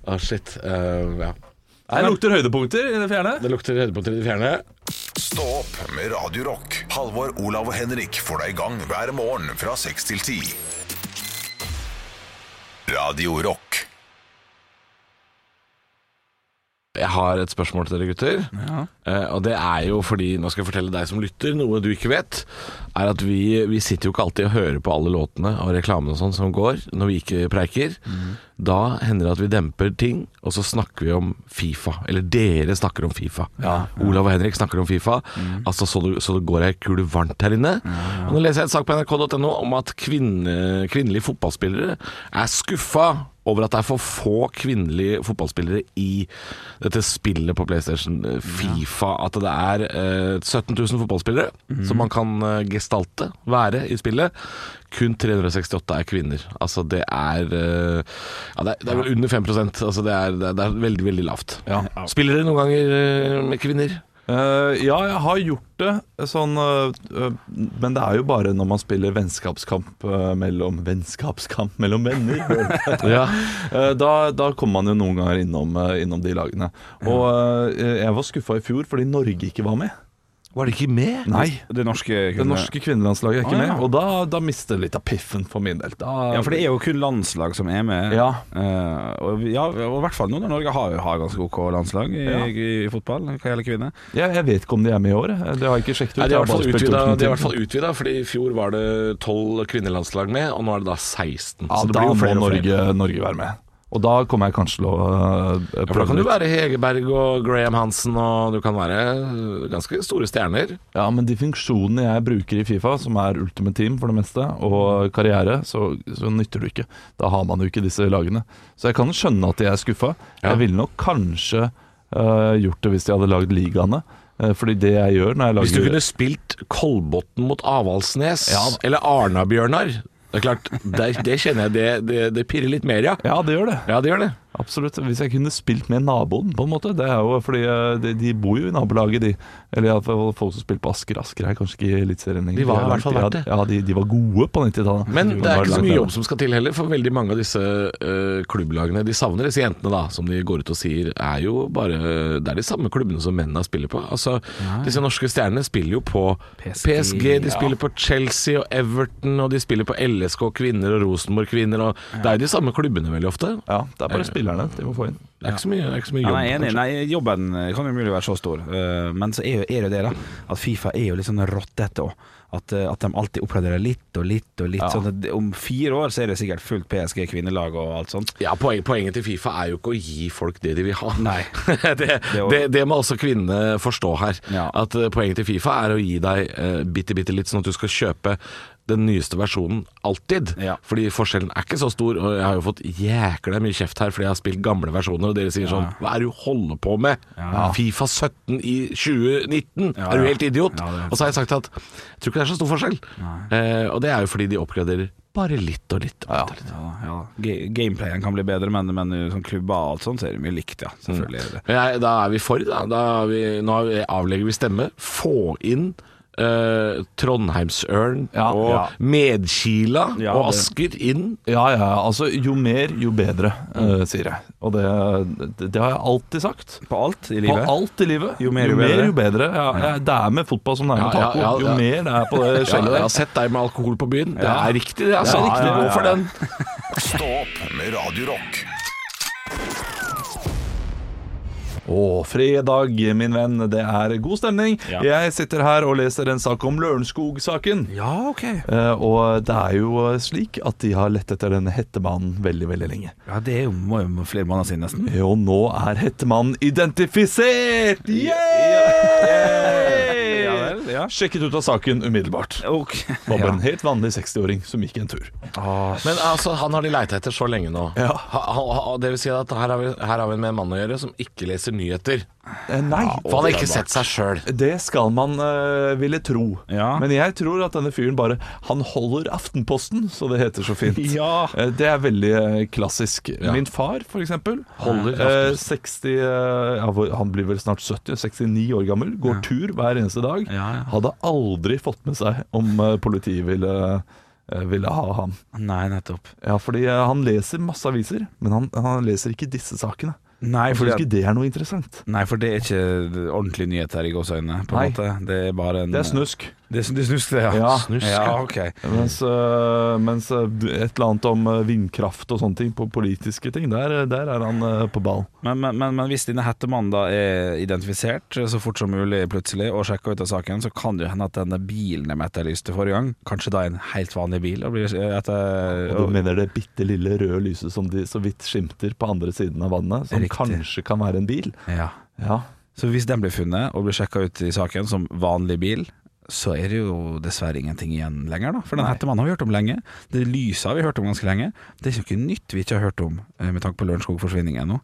C: Ah, shit. Eh, ja.
E: Her lukter høydepunkter i det fjerne.
C: Det lukter høydepunkter i det fjerne.
A: Stå opp med Radio Rock. Halvor, Olav og Henrik får deg i gang hver morgen fra 6 til 10. Radio Rock.
C: Jeg har et spørsmål til dere gutter. Eh, og det er jo fordi, nå skal jeg fortelle deg som lytter, noe du ikke vet, er at vi, vi sitter jo ikke alltid og hører på alle låtene og reklamene og sånn som går, når vi ikke preiker. Da hender det at vi demper ting, og så snakker vi om Fifa. Eller dere snakker om Fifa. Olav og Henrik snakker om Fifa. Altså så, du, så det går ei kule varmt her inne. Og nå leser jeg en sak på nrk.no om at kvinne, kvinnelige fotballspillere er skuffa over at det er for få kvinnelige fotballspillere i dette spillet på PlayStation, eh, Fifa. At det er eh, 17 000 fotballspillere som man kan eh, gestalte, være i spillet. Kun 368 er kvinner. Altså det er eh, ja, det, er, det er vel under 5 altså det, er, det, er, det er veldig, veldig lavt.
E: Ja.
C: Spiller dere noen ganger eh, med kvinner?
E: Eh, ja, jeg har gjort det sånn eh, eh, Men det er jo bare når man spiller vennskapskamp eh, mellom Vennskapskamp mellom venner. [laughs]
C: Ja.
E: Eh, da, da kommer man jo noen ganger innom, eh, innom de lagene. Og eh, jeg var skuffa i fjor fordi Norge ikke var med.
C: Var de ikke med?
E: Nei.
D: Det norske
E: Det norske kvinnelandslaget er ikke
D: Å, ja.
E: med, og da, da mister det litt av piffen for min del. Da,
D: Ja, for det er jo kun landslag som er med.
E: Ja.
D: Eh, og, vi- ja, og i hvert fall nå når Norge har, har ganske OK landslag i,
E: Ja.
D: i, i fotball, hva gjelder kvinner.
E: jeg, jeg vet ikke om de er med i år. jeg. Det har jeg ikke sjekket ut.
C: Nei, de
E: jeg
C: har i hvert
E: bare
C: fall
E: spilt
C: utvida-
E: opp noen
C: de har i
E: ting.
C: hvert fall utvida, fordi i fjor var det tolv kvinnelandslag med, og nå er det da 16.
E: ja,
C: så det
E: da
C: blir jo
E: må
C: flere og flere.
E: Norge, Norge være med. Og da kommer jeg kanskje til å eh,
C: Ja, for da
E: prøve
C: kan du
E: litt.
C: være Hegerberg og Graham Hansen, og du kan være eh, ganske store stjerner.
E: Ja, men de funksjonene jeg bruker i Fifa, som er Ultimate Team for det meste, og karriere, så, så nytter det ikke. Da har man jo ikke disse lagene. Så jeg kan skjønne at de er skuffa.
C: Ja.
E: Jeg ville nok kanskje øh, gjort det hvis de hadde lagd ligaene. Eh, fordi det jeg gjør når jeg lager
C: Hvis du kunne spilt Kolbotn mot Avaldsnes,
E: Ja.
C: eller Arna-Bjørnar Det er klart, det, det kjenner jeg, det, det, det pirrer litt mer, ja.
E: Ja, det gjør det.
C: Ja, det gjør det.
E: Absolutt. Hvis jeg kunne spilt med naboen, på en måte. Det er jo fordi eh, de, de bor jo i nabolaget, de. Eller iallfall folk som spiller på Asker. Asker er kanskje ikke Eliteserien lenger.
C: De var i
E: er
C: hvert fall
E: langt-
C: verdt det.
E: Ja, de, de var gode på 90-tallet.
C: Men
E: De
C: det er
E: var
C: ikke så
E: langt
C: mye
E: nede.
C: jobb som skal til heller, for veldig mange av disse eh, klubblagene De savner disse jentene, da, som de går ut og sier er jo bare Det er de samme klubbene som mennene spiller på. Altså, Disse norske stjernene spiller jo på PSG,
D: PSG,
C: de spiller på Chelsea og Everton, og de spiller på LSK kvinner og Rosenborg kvinner, og Det er jo de samme klubbene veldig ofte.
E: Ja, det er bare spillerne de må få inn.
C: Det er ikke så mye, det er ikke så mye
D: Ja,
C: jobb.
D: nei, jeg er enig,
C: kanskje.
D: nei, jobben kan jo mulig være så stor, eh, men så er jo er det det, da. At Fifa er jo litt sånn rottete òg. At, eh, at de alltid oppgraderer litt og litt og litt. Sånn at det- om fire år så er det sikkert fullt PSG kvinnelag og alt sånt.
C: Ja, poen, Poenget til Fifa er jo ikke å gi folk det de vil ha.
D: Nei.
C: [laughs] det,
D: jo-
C: det, det må også kvinnene forstå her.
D: Ja.
C: At eh, Poenget til Fifa er å gi deg eh, bitte, bitte litt, sånn at du skal kjøpe den nyeste versjonen alltid.
D: Ja.
C: Fordi forskjellen er ikke så stor. Og jeg har jo fått jækla mye kjeft her fordi jeg har spilt gamle versjoner, og dere sier sånn Hva er det du holder på med? Ah, Fifa 17 i 2019?
D: Ja,
C: er
D: ja.
C: du helt idiot?
D: Ja, det er-
C: og så har jeg sagt at jeg tror ikke det er så stor forskjell. Eh, og det er jo fordi de oppgraderer bare litt og litt. Og litt, og litt.
D: Ja, ja. Ga- Gameplayen kan bli bedre, men, men eh, sånn klubber og alt sånt så er det mye likt, ja.
E: Mm.
D: Selvfølgelig er det det.
C: Men jeg, da er vi for, da. da er vi, nå er vi, avlegger vi stemme. Få inn eh, Trondheimsørn
E: Ja,
C: og
E: ja.
C: Medkila
D: Ja,
C: og
D: det-
C: Asker inn.
E: Ja, ja, altså jo mer, jo bedre,
C: Mm.
E: eh, sier jeg. Og det, det, det har jeg alltid sagt.
D: På alt i
E: På
D: livet.
E: alt i livet.
D: Jo mer, jo bedre.
E: jo bedre. Ja, ja, det er med fotball som det er med
C: Ja, ja,
E: taco.
C: ja,
E: Jo
C: ja.
E: mer det er på det
C: Ja,
E: skjellet
C: jeg
E: der.
C: har sett deg med alkohol på byen. Det
E: Ja.
C: er riktig, det. Altså.
E: Ja, ja,
C: riktig
E: ja,
C: gå
E: ja.
C: for den.
A: Stå opp med Radio Rock.
E: Å, fredag, min venn. Det er god stemning.
D: Ja.
E: Jeg sitter her og leser en sak om Lørenskog-saken.
D: Ja, OK.
E: Eh, og det er jo eh, slik at de har lett etter denne hettemannen veldig, veldig lenge. Eh,
D: Ja, Det er jo må jo flere måneder siden, nesten.
E: Og nå er hettemannen identifisert!
D: Ja
E: Yeah!
D: vel, ja.
E: Sjekket ut av saken umiddelbart.
D: Ok. [laughs]
E: Var bare en helt vanlig 60-åring som gikk en tur.
C: Men altså, han har de leita etter så lenge nå.
E: Ja.
C: Ha, ha, ha, det vil si at her har, vi, her har vi med en mann å gjøre som ikke leser nyheter.
E: Eh, nei,
C: For han har ikke sett seg sjøl.
E: Det skal man eh, ville tro.
D: Ja.
E: Men jeg tror at denne fyren bare Han holder Aftenposten, så det heter så fint.
D: [laughs] Ja.
E: Eh, det er veldig eh, klassisk.
C: Ja.
E: Min far, for eksempel.
C: Holder
E: eh, 60 eh, ja, hvor- Han blir vel snart 70, 69 år gammel. Går tur hver eneste dag.
D: Ja, ja.
E: Hadde aldri fått med seg om eh, politiet ville, eh, ville ha ham.
D: Nei, nettopp.
E: Ja, fordi eh, han leser masse aviser, men han, han leser ikke disse sakene.
D: Nei,
E: Jeg
D: fordi
E: syns
D: at-
E: ikke det er noe interessant.
D: Nei, for det er ikke ordentlig nyheter i gåseøynene, på en
E: Nei.
D: måte. Det er bare en
E: Det er snusk.
D: Det er, sn- det er snusk, det, ja.
E: Ja.
C: Snusk,
D: ja
C: ja.
D: ok.
E: Mens, øh, mens øh, d- et eller annet om øh, vindkraft og sånne ting, på politiske ting, der, der er han øh, på ball.
D: Men, men, men, men hvis denne hettemannen da er identifisert så fort som mulig plutselig, og sjekka ut av saken, så kan det jo hende at denne bilen de etterlyste forrige gang, kanskje da er en helt vanlig bil og blir eh, etter...
E: Og du mener det bitte lille røde lyset som de så vidt skimter på andre siden av vannet, som
D: Riktig.
E: kanskje kan være en bil?
D: Ja.
E: Ja.
D: Så hvis den blir funnet og blir sjekka ut i saken som vanlig bil, så er det jo dessverre ingenting igjen lenger, da. For den hettemannen har vi hørt om lenge. Det lyset har vi hørt om ganske lenge. Det er jo ikke nytt vi ikke har hørt om eh, med tanke på Lørenskog-forsvinningen nå.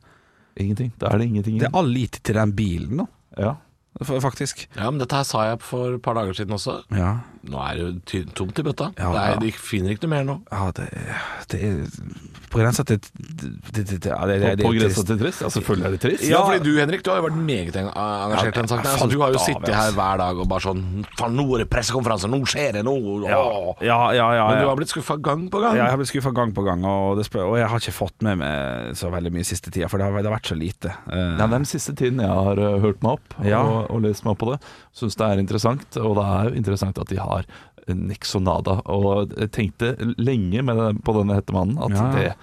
E: Ingenting. Da er det ingenting
D: Det
E: igjen.
D: er all lit til den bilen nå,
E: Ja.
D: f- faktisk.
C: Ja, men dette her sa jeg for et par dager siden også.
D: Ja,
C: Nå er det jo ty tomt i bøtta.
D: Ja,
C: Nei,
D: ja.
C: de finner ikke noe mer nå.
D: ja det, det er På grensa til det- det- det- ja, det- det- det-
E: På grensa
D: trist.
E: til trist? Ja, selvfølgelig er det trist.
C: Ja, fordi du Henrik, du har jo vært meget eng- engasjert i den saken. her, så du har jo sittet her hver dag og bare sånn Faen, nå er det pressekonferanse, nå skjer det noe!
D: Ja,
C: åh».
D: ja, ja. ja,
C: Men du
D: ja.
C: har blitt skuffa gang på gang.
D: Ja, jeg har blitt skuffa gang på gang, og, det spør, og jeg har ikke fått med meg så veldig mye siste tida, for det har, det har vært så lite. Eh,
E: Nei, det er den siste tiden jeg har øh, hørt meg opp
D: Ja.
E: og, og lest meg opp på det. Syns det er interessant, og det er jo interessant at de har Nexonada. Og jeg tenkte lenge med den, på denne hettemannen at
D: Ja.
E: det,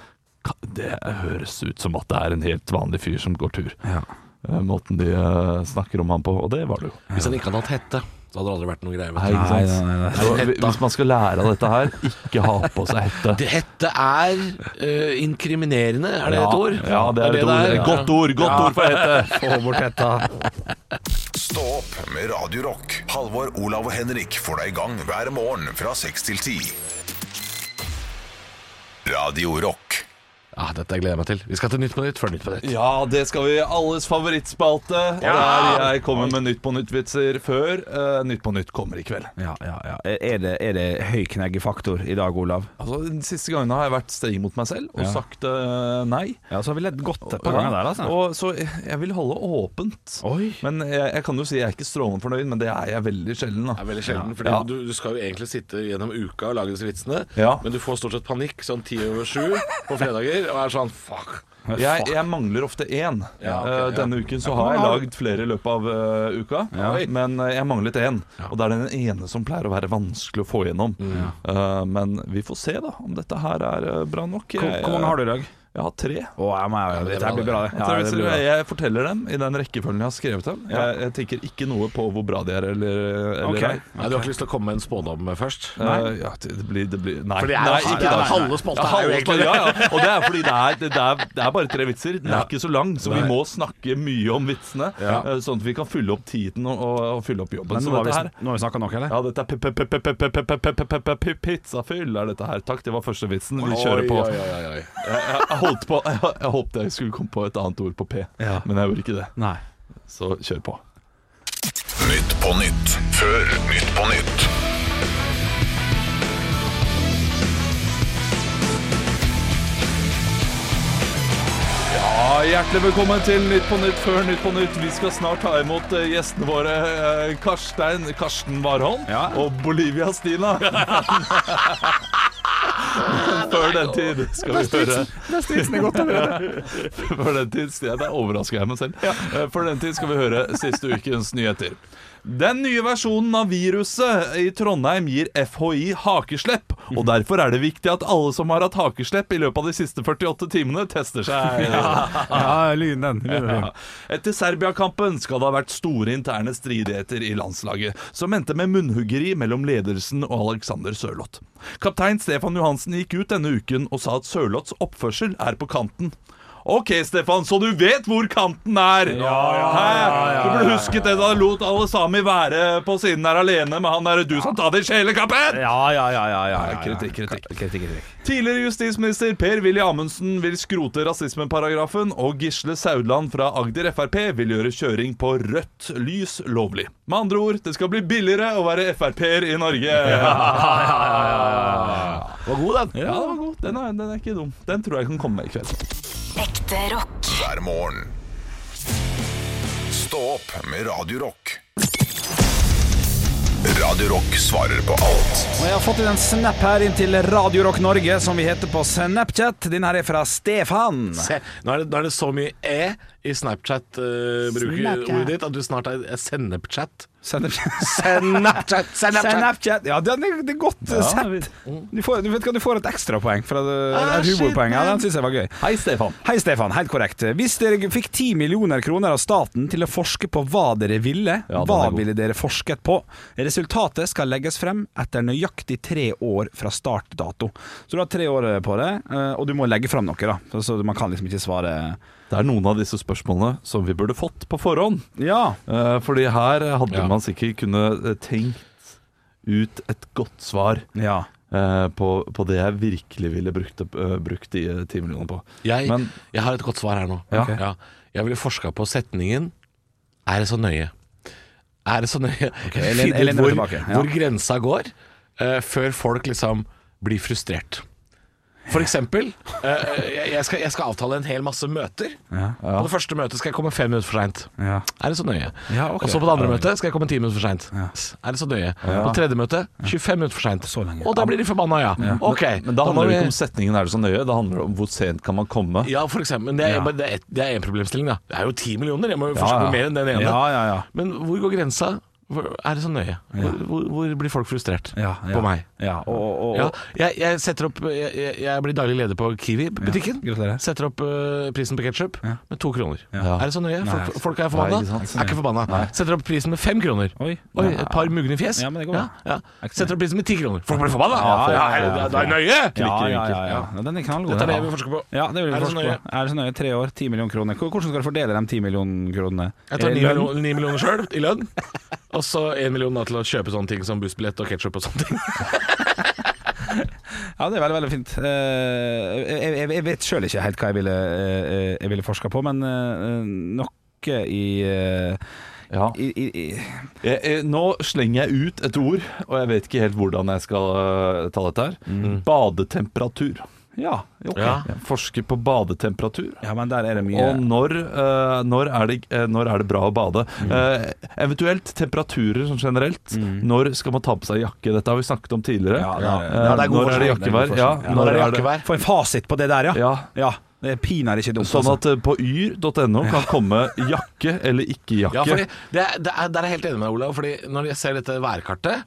E: ka- det høres ut som at det er en helt vanlig fyr som går tur.
D: ja.
E: Eh, Måten de eh, snakker om han på, og det var det jo.
C: Hvis han ikke hadde hatt hette, så hadde det aldri vært noe greier.
E: Nei,
C: vet du.
E: ikke
D: Nei,
E: sant?
D: nei, nei, nei.
E: Så, hvi- hvis man skal lære av dette her, ikke ha på seg hette.
C: Det hette er eh, inkriminerende, er det
E: Ja,
C: et ord?
E: Ja, det er et ord. Et Godt ord, godt ord for hette!
D: Få bort hetta.
A: Stå opp med Radio Rock. Halvor, Olav og Henrik får deg i gang hver morgen fra 6 til 10. Radio Rock.
C: Ja, dette gleder jeg meg til. Vi skal til Nytt på nytt før Nytt på nytt.
E: Ja, det skal vi. Alles favorittspalte.
C: Ja!
E: Der jeg kommer med Nytt på nytt-vitser før eh, Nytt på nytt kommer i kveld.
D: Ja, ja, ja. Er det, er det høy kneggefaktor i dag, Olav?
E: Altså, De siste gangene har jeg vært streng mot meg selv og
D: Ja.
E: sagt eh, nei.
D: Ja, så har vi ledd godt et
E: Ja, Og, så jeg vil holde åpent.
D: altså. Oi.
E: Men jeg, jeg kan jo si jeg er ikke strålende fornøyd, men det er jeg veldig sjelden.
C: Det
E: da
C: er veldig sjelden, for
E: Ja.
C: du, du skal jo egentlig sitte gjennom uka og lage disse vitsene,
E: Ja.
C: men du får stort sett panikk sånn ti over sju på fredager, og er sånn fuck.
E: Jeg, jeg mangler ofte én.
C: Ja, ok,
E: Eh,
C: ja.
E: Denne uken så har jeg lagd flere i løpet av eh, uka, men eh, jeg manglet én. Og det er den ene som pleier å være vanskelig å få gjennom.
C: Mm.
E: Eh, men vi får se da om dette her er eh, bra nok.
D: Hvor, hvor mange har du i dag?
E: Jeg har tre.
D: Å, jeg må, jeg,
C: det
D: dette her blir bra, det.
E: Jeg,
D: Ja,
E: tror
D: det
E: jeg-
D: blir bra.
E: jeg, jeg forteller dem i den rekkefølgen jeg har skrevet dem. Jeg, jeg tenker ikke noe på hvor bra de er eller, eller
D: Ok.
E: ei.
C: Nei, du har ikke lyst til å komme med en spådom først?
E: Eh, ja, det det blir, det blir Nei,
C: For det er,
E: nei
C: det
E: ikke
C: er,
E: da.
C: halve spalta er jo
E: Ja,
C: egentlig det.
E: ja, ja. Og det er fordi det er, det er, det er bare tre vitser. Den er ikke så lang, så vi må snakke mye om vitsene. eh, Sånn at vi kan fylle opp tiden og, og, og fylle opp
D: Men
E: jobben.
D: nå
E: så
D: har vi,
E: dette her
D: nå har vi snakka nok, eller?
E: ja, dette er pe- pe- pe- pe- pe- pe- pe- pe- pe- pe- pe- pizzafyll er dette her. Takk, det var første vitsen. Vi kjører på.
C: Oi, oi, oi, oi.
E: Jeg, jeg, jeg holdt på. [laughs] Jeg, jeg håpte jeg skulle komme på et annet ord på P,
D: Ja.
E: men jeg gjorde ikke det.
D: Nei.
E: Så kjør på.
A: Nytt på nytt før Nytt på nytt.
E: Ja, Hjertelig velkommen til Nytt på Nytt før Nytt på Nytt. Vi skal snart ta imot eh, gjestene våre eh, Karstein Karsten Warholm
D: Ja.
E: og Bolivia
D: [laughs]
E: Stina. før den tid skal vi høre [laughs] Før den tid ja, Der overrasker jeg meg selv. Eh, Før den tid skal vi høre siste ukens nyheter. Den nye versjonen av viruset i Trondheim gir FHI hakeslepp. Og
D: Mhm.
E: derfor er det viktig at alle som har hatt hakeslepp i løpet av de siste 48 timene, tester
D: [laughs]
E: seg.
D: Ja, lyn den. Lyn den.
E: [laughs] Ja. Etter Serbia-kampen skal det ha vært store interne stridigheter i landslaget, som endte med munnhuggeri mellom ledelsen og Alexander Sørloth. Kaptein Stefan Johansen gikk ut denne uken og sa at Sørloths oppførsel er på kanten. Ok, Stefan, så du vet hvor kanten er! Hæ? Du burde husket det da du lot alle sami være på siden her alene med han derre du som tar det i sjelekappen!
D: Ja, ja, ja, ja, ja, ja.
E: Kritikk, kritikk.
D: Kritikk, kritikk.
E: Tidligere justisminister Per-Willy Amundsen vil skrote rasismeparagrafen, og Gisle Saudland fra Agder Frp vil gjøre kjøring på rødt lys lovlig. Med andre ord, det skal bli billigere å være Frp-er i Norge.
D: Var god, den.
E: Ja, den var god. Den er, den er ikke dum. Den tror jeg kan komme med i kveld.
B: Ekte rock.
A: hver morgen. Stå opp med Radio Rock. Radio Rock svarer på alt
D: Og jeg har fått inn en snap her inn til Radio Rock Norge, som vi heter på Snapchat. Den her er fra Stefan.
C: Se, nå er, det, nå er det så mye E i Snapchat-brukerordet
F: Snapchat.
C: ditt at du snart er er Sennepchat.
D: Snapchat.
C: Sennepchat!
D: Snapchat. Ja, den er, det er godt eh, sett. Du, får, du vet hva, du får et ekstrapoeng for eh,
C: Ah,
D: et
C: shit,
D: humorpoeng. Ja,
C: man.
D: den syns jeg var gøy.
E: Hei, Stefan.
D: Hei, Stefan. Helt korrekt. Hvis dere fikk 10 millioner kroner av staten til å forske på hva dere ville,
E: den er
D: hva
E: god.
D: ville dere forsket på? Resultatet skal legges frem etter nøyaktig tre år fra startdato. Så du har tre år på det, eh, og du må legge frem noe, da. Så- Så man kan liksom ikke svare
E: Det er noen av disse spørsmålene som vi burde fått på forhånd.
D: Ja.
E: Eh, Fordi her hadde
C: Ja.
E: man sikkert kunne eh, tenkt ut et godt svar
D: Ja.
E: eh, på, på det jeg virkelig ville brukt, opp- eh, brukt de eh, ti millionene på.
C: Jeg,
E: Men-
C: jeg har et godt svar her nå.
E: Ja.
C: Ja. Jeg ville forska på setningen 'er det så nøye'? Er det så nøye?
D: Elin-
C: Finne ut
D: Elin er
C: hvor,
D: tilbake, ja.
C: hvor grensa går, eh, før folk liksom blir frustrert. For eksempel, eh, jeg, jeg, skal, jeg skal avtale en hel masse møter. På det første møtet skal jeg komme fem minutter for seint.
D: Ja.
C: Er det så nøye?
D: Ja, ok.
C: Og så på det andre møtet skal jeg komme ti minutter for seint. Er det så nøye? På det tredje møtet 25 minutter for seint.
D: Så lenge.
C: Og da blir de forbanna, ja. Ok.
E: Men da
C: må
E: handler det
C: vi-
E: ikke om setningen er det så nøye, det handler om hvor sent kan man komme.
C: Ja, for eksempel. Men det er,
D: Ja.
C: men det er, et- det er en problemstilling, da. Det er jo ti millioner, jeg må jo forske
E: ja.
C: på mer enn den ene.
D: Ja, ja, ja.
C: Men hvor går grensa? Hvor- Er det så nøye? Hvor, hvor, hvor blir folk frustrert
D: Ja, ja.
C: på meg?
D: Ja, og, og, og
C: Ja, jeg, jeg setter opp jeg, jeg- jeg blir daglig leder på Kiwi-butikken.
D: gratulerer.
C: setter opp eh, prisen på ketsjup med to kroner.
D: Ja.
C: Er det så nøye? Folk, folk er
E: Nei,
C: forbanna?
E: ikke sant.
C: Er ikke forbanna. Setter opp prisen med fem kroner.
D: Oi.
C: Oi, et par mugne fjes.
D: Ja, men det går
C: ja,
D: bra.
C: ja. Setter opp prisen med ti kroner. Folk blir forbanna!
D: Ja,
C: Ja,
D: ja,
C: er
D: ja,
C: det- det er nøye!
D: Ja, ja, ja, ja. ja. Den er knallgod.
C: Dette er det
D: den.
C: vi forsker på.
D: Ja, det vil
C: Er
D: vi
C: det så
D: forske på.
C: nøye?
D: Er det så nøye? Tre år, ti millioner kroner. Hvor- Hvordan skal du fordele de ti millioner kronene?
C: Jeg tar
D: Eh,
C: ni
D: lønn?
C: millioner, ni millioner sjøl i lønn, og så én million da til å kjøpe sånne ting som bussbillett og ketsjup og sånne ting.
D: Ja, det er veldig, veldig fint. Eh, jeg, jeg, jeg vet sjøl ikke helt hva jeg ville, eh, jeg ville forska på, men eh, noe i, eh,
E: Ja.
D: i, i, i
E: Jeg, jeg, nå slenger jeg ut et ord, og jeg vet ikke helt hvordan jeg skal øh, ta dette her. Badetemperatur.
D: Ja, ok. Ja.
C: Mm. Ja.
E: Jeg forsker på badetemperatur.
D: men der er det mye
E: Og når, øh, når, er det, eh, når er det bra å bade?
D: Mm.
E: Eh, eventuelt temperaturer sånn generelt. Når skal man ta på seg jakke? Dette har vi snakket om tidligere.
D: Ja, det er-
E: Eh,
D: ja, det er god
E: når er
D: forskning.
E: det
D: Det er god
E: jakkevær? Ja,
D: forskning. Ja.
E: når er det
D: Få en fasit på det der, ja.
E: Ja.
D: det er pinadø ikke dumt.
E: Sånn
D: altså.
E: at eh, på yr.no kan komme jakke eller ikke jakke.
C: Ja, fordi det, er- det er, Der er jeg helt enig med deg, Olav. Fordi Når jeg ser dette værkartet,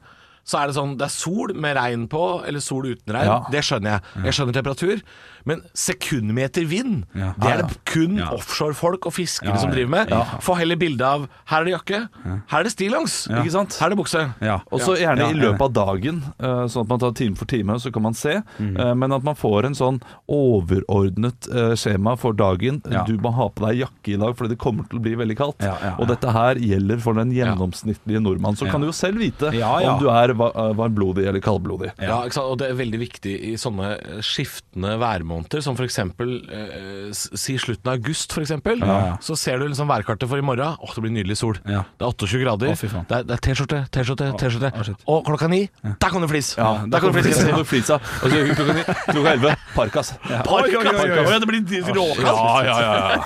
C: så er det sånn Det er sol med regn på, eller sol uten regn.
E: Ja.
C: Det skjønner jeg. Jeg skjønner temperatur. Men sekundmeter vind,
D: Ja.
C: det er
D: Ja,
C: det kun
D: Ja.
C: offshorefolk og fiskere
D: Ja, ja.
C: som driver med. Få heller bilde av Her er det jakke. Her er det stillongs. Ikke sant? Her er det bukse.
D: altså. ja.
E: Og så gjerne
D: Ja,
E: i
D: enig.
E: løpet av dagen, eh, sånn at man tar time for time, så kan man se.
D: Mhm.
E: Eh, Men at man får en sånn overordnet eh, skjema for dagen.
D: Ja.
E: Du må ha på deg jakke i dag, fordi det kommer til å bli veldig kaldt.
D: Ja, ja, ja.
E: Og dette her gjelder for den gjennomsnittlige nordmann. Så
D: Ja.
E: kan du jo selv vite
D: Ja, ja.
E: om du er va- eh, varmblodig eller kaldblodig.
C: Ja, ikke sant? og det er veldig viktig i sånne eh, skiftende værmåneder, som f.eks. Eh, s- si slutten av august, f.eks. eksempel Så ser du liksom værkartet for i morgen. Åh, det blir nydelig sol.
D: Ja.
C: Det er 28 grader.
D: Å, fy faen.
C: det er- det er T-skjorte, T-skjorte, T-skjorte.
D: å, shit.
C: og klokka ni, der kom det flis!
E: Da kan du flise. Da kan du flise. Og så klokka ni- klokka elleve parkas.
C: Parkas. Parkas.
E: Ja, det blir råkast. Ja, ja, ja.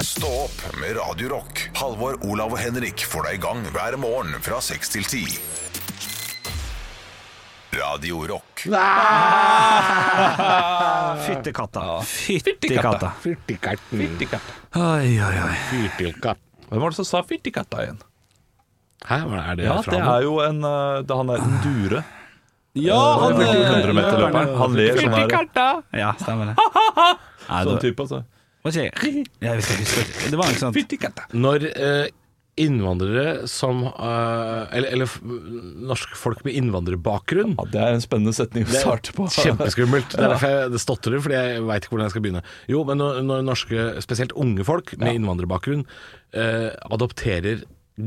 A: Stå opp med Radio Rock. Halvor, Olav og Henrik får deg i gang hver morgen fra 6 til 10. Radio Rock.
D: Fyttekatta. Fyttekatta.
C: Fyttikatten.
D: Oi, oi, oi.
C: Fyttikatt.
E: Hvem var det som sa 'fyttikatta' igjen?
C: Hæ, hva er det
E: Ja,
C: fra
E: det
C: nå?
E: er jo en eh, Det er han der en dure.
D: Ja,
E: Han
D: han
E: er 100-meterløperen. Han ler sånn her.
D: Ja, stemmer det. Nei,
E: Sånn
D: det
E: type, altså.
D: var ikke [laughs] Jeg husker ikke. Det var sånn- ikke sant.
E: Fyttikatta.
C: Når eh, innvandrere som eh, Eller, eller f- norske folk med innvandrerbakgrunn
E: Ja, det er en spennende setning å starte på.
C: Kjempeskummelt. Det er derfor jeg det stotrer, fordi jeg veit ikke hvordan jeg skal begynne. Jo, men når, når norske, spesielt unge folk med innvandrerbakgrunn, eh, adopterer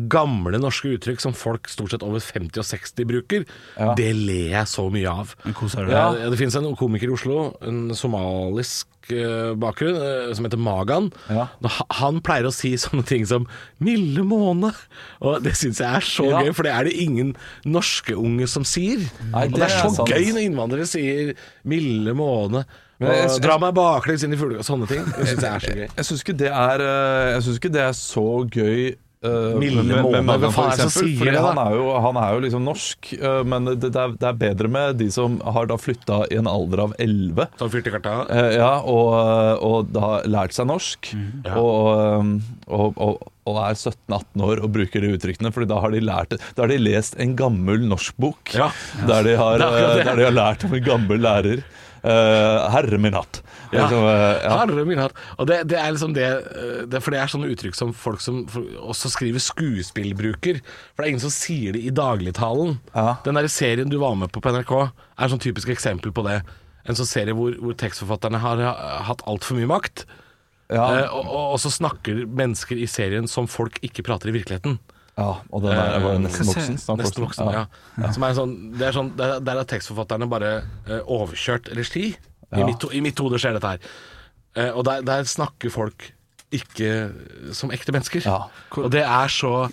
C: gamle norske uttrykk som folk stort sett over 50 og 60 bruker, det ler jeg så mye av.
D: koser du
C: Ja,
D: deg?
C: ja, det finnes en komiker i Oslo, en somalisk eh, bakgrunn, eh, som heter Magan.
E: Ja.
C: Når ha- Han pleier å si sånne ting som 'milde måne', og det syns jeg er så
E: Ja.
C: gøy, for det er det ingen norske unge som sier.
E: Nei,
C: Og det er så
E: sant.
C: gøy når innvandrere sier 'milde måne' og
E: Men jeg- jeg-
C: 'dra meg baklengs inn i fuglekassa' sånne ting. Det syns jeg
E: [laughs]
C: er så gøy.
E: Jeg syns ikke det er eh, Jeg synes ikke det er så gøy eh,
C: Milde
E: med- med
C: måned,
E: Magan,
C: hva faen er det som
E: for eksempel,
C: sier
E: fordi
C: det, da?
E: han, er jo, han er jo liksom norsk, eh, men det, det, er, det er bedre med de som har da flytta i en alder av 11
C: Sånn fyrt i karta.
E: eh, ja, og, og da har lært seg norsk,
C: Ja.
E: og, eh, og, og, og er 17-18 år og bruker de uttrykkene. Fordi da har de lært det. Da har de lest en gammel norskbok
C: Ja.
E: der, de har,
C: [laughs] Det er akkurat
E: eh,
C: det.
E: der de har lært om en gammel lærer. Eh, herre min hatt.
C: Ja.
E: Liksom, eh, ja.
C: Herre min hatt. Og det, det er liksom det, eh, det For det er sånne uttrykk som folk som for- også skriver skuespill bruker. For det er ingen som sier det i dagligtalen.
E: Ja.
C: Den der serien du var med på på NRK, er sånn typisk eksempel på det. En sånn serie hvor, hvor tekstforfatterne har eh, hatt altfor mye makt.
E: Ja.
C: Eh, og, og, og så snakker mennesker i serien som folk ikke prater i virkeligheten.
E: Ja, og den der var jo nesten
D: Hva sier-
E: voksen. snart
C: Eh, Nesten voksen, ja. Som er sånn, det er sånn, der, der har tekstforfatterne bare eh, overkjørt regi. I,
E: Ja.
C: mitt, ho- I mitt hode skjer dette her. Eh, og der, der snakker folk ikke som ekte mennesker.
E: Ja.
C: Og det er så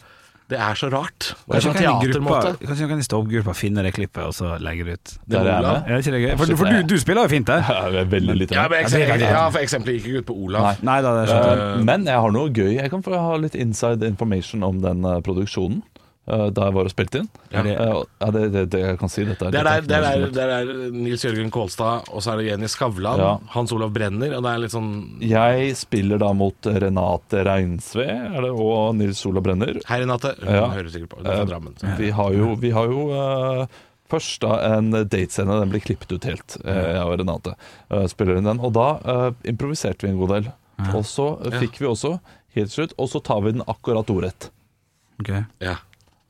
C: Det er så rart. Det er
D: Kanskje
C: sånn
D: kan de gruppa-
C: teatermåte.
D: kanskje kan de stå-opp-gruppa finne det klippet, og så legge det ut.
E: Der er jeg med.
C: Olav.
D: Er det ikke det gøy? For, for du, du spiller jo fint der.
E: Jeg er veldig lite
C: Ja,
E: med.
C: men eksempelet, ja, for eksempelet gikk ikke ut på Olav.
D: Nei da, det sånn. skjønte jeg.
E: Eh, Men jeg har noe gøy. Jeg kan få ha litt inside information om den eh, produksjonen. eh, Da jeg var og spilte inn.
D: Ja.
E: Eh, og- Ja, det, det, det jeg kan si dette. er-
C: Det er der,
E: dette
C: det
E: er ikke
C: er der,
E: noe som-
C: det er der Nils Jørgen Kålstad, og så er det Jenny Skavlan,
E: Ja.
C: Hans Olav Brenner, og det er litt sånn
E: Jeg spiller da mot Renate Reinsve er det, og Nils Ola Brenner.
C: Her i natta Hun
E: Ja. Eh,
C: hører sikkert på. Hun er fra Drammen. så.
E: Vi har jo, vi har jo eh, først da en datescene. Den blir klippet ut helt. eh, jeg og Renate eh, spiller inn den. Og da eh, improviserte vi en god del. Og så eh, fikk vi også helt slutt, og så tar vi den akkurat ordrett.
D: Ok.
C: Ja.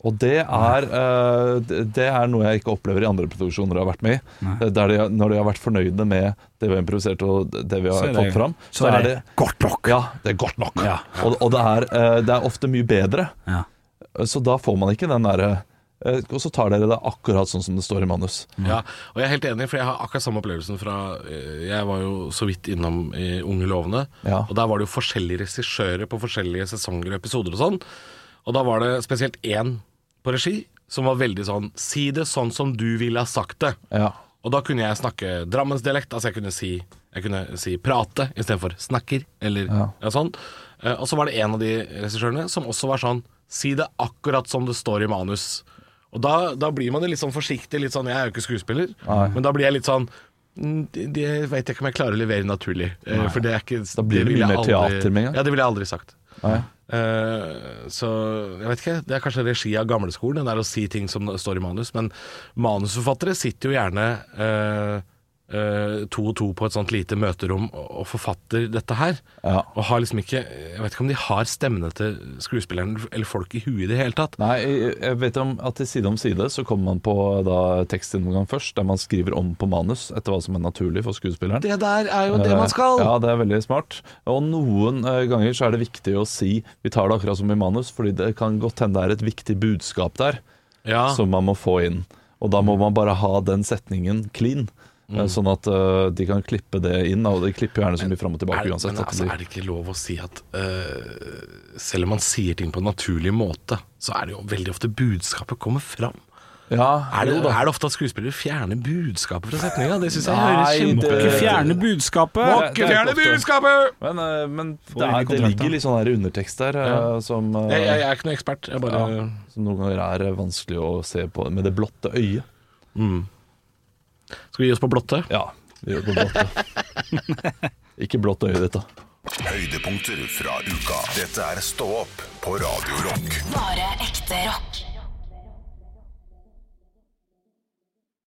E: Og det er, eh, det det er noe jeg ikke opplever i andre produksjoner jeg har vært med i. Eh, Der de, har- når de har vært fornøyde med det vi har improvisert og det vi har
D: Så er det-
E: fått fram,
D: så er det
E: godt nok. Ja, det er godt nok.
D: Ja.
E: Og, og det, er, eh, det er ofte mye bedre.
D: Ja.
E: Så da får man ikke den derre eh, Og så tar dere det akkurat sånn som det står i manus.
C: Ja, og jeg er helt enig, for jeg har akkurat samme opplevelsen fra eh, Jeg var jo så vidt innom eh, Unge lovende,
E: Ja.
C: og der var det jo forskjellige regissører på forskjellige sesonger og episoder og sånn. Og da var det spesielt én på regi som var veldig sånn Si det sånn som du ville ha sagt det.
E: Ja.
C: Og da kunne jeg snakke drammensdialekt. Altså jeg kunne si, jeg kunne si prate istedenfor snakker, eller ja. sånn. Eh, Og så var det en av de regissørene som også var sånn Si det akkurat som det står i manus. Og da, da blir man jo litt sånn forsiktig. Litt sånn, Jeg er jo ikke skuespiller, men da blir jeg litt sånn «Mm, Det det vet jeg ikke om jeg klarer å levere naturlig. eh, For det er ikke
E: Da blir det mye
C: ville jeg
E: mer
C: aldri-
E: teater med en gang.
C: Ja, det ville jeg aldri sagt.
E: Nei.
C: Eh, så jeg vet ikke, det er kanskje regi av gamleskolen, den der å si ting som står i manus, men manusforfattere sitter jo gjerne eh, eh, to og to på et sånt lite møterom og, og forfatter dette her.
E: Ja.
C: Og har liksom ikke Jeg vet ikke om de har stemmene til skuespilleren eller folk i huet i det hele tatt.
E: Nei, jeg jeg vet om at i Side om side så kommer man på da tekstgjennomgang først, der man skriver om på manus etter hva som er naturlig for skuespilleren. Eh,
C: Det der er jo det man skal!
E: Ja, det er veldig smart. Og noen eh, ganger så er det viktig å si vi tar det akkurat som i manus, fordi det kan godt hende det er et viktig budskap der.
C: Ja. Mm.
E: som man må få inn. Og da må man bare ha den setningen clean, eh, sånn at eh, de kan klippe det inn. da, Og de klipper jo gjerne så mye fram og tilbake
C: Er,
E: uansett.
C: Mm. men
E: at
C: altså,
E: det
C: er det ikke lov å si at eh, selv om man sier ting på en naturlig måte, så er det jo veldig ofte budskapet kommer fram.
E: blir- ja,
C: Er det, er det ofte at skuespillere fjerner budskapet fra setninga? Det syns jeg
E: Nei, det-
C: høres
D: Ikke
C: kjempekult ut.
D: fjerne budskapet.
E: Det er ikke ofte.
C: budskapet!
E: Men, eh, men det,
D: inn i
E: er, det
D: kontrakten.
E: ligger litt sånn her undertekst der eh, som, eh,
C: Jeg, jeg, jeg er ikke noen ekspert. Jeg bare
E: ja, som noen ganger er eh, vanskelig å se på med det blotte øyet.
C: Skal vi gi oss på blotte?
E: Ja, vi gjør det på blotte.
C: [laughs]
E: ikke blått øye ditt, da.
A: Høydepunkter fra uka. Dette er Stå opp på Radio Rock.
B: Bare ekte rock.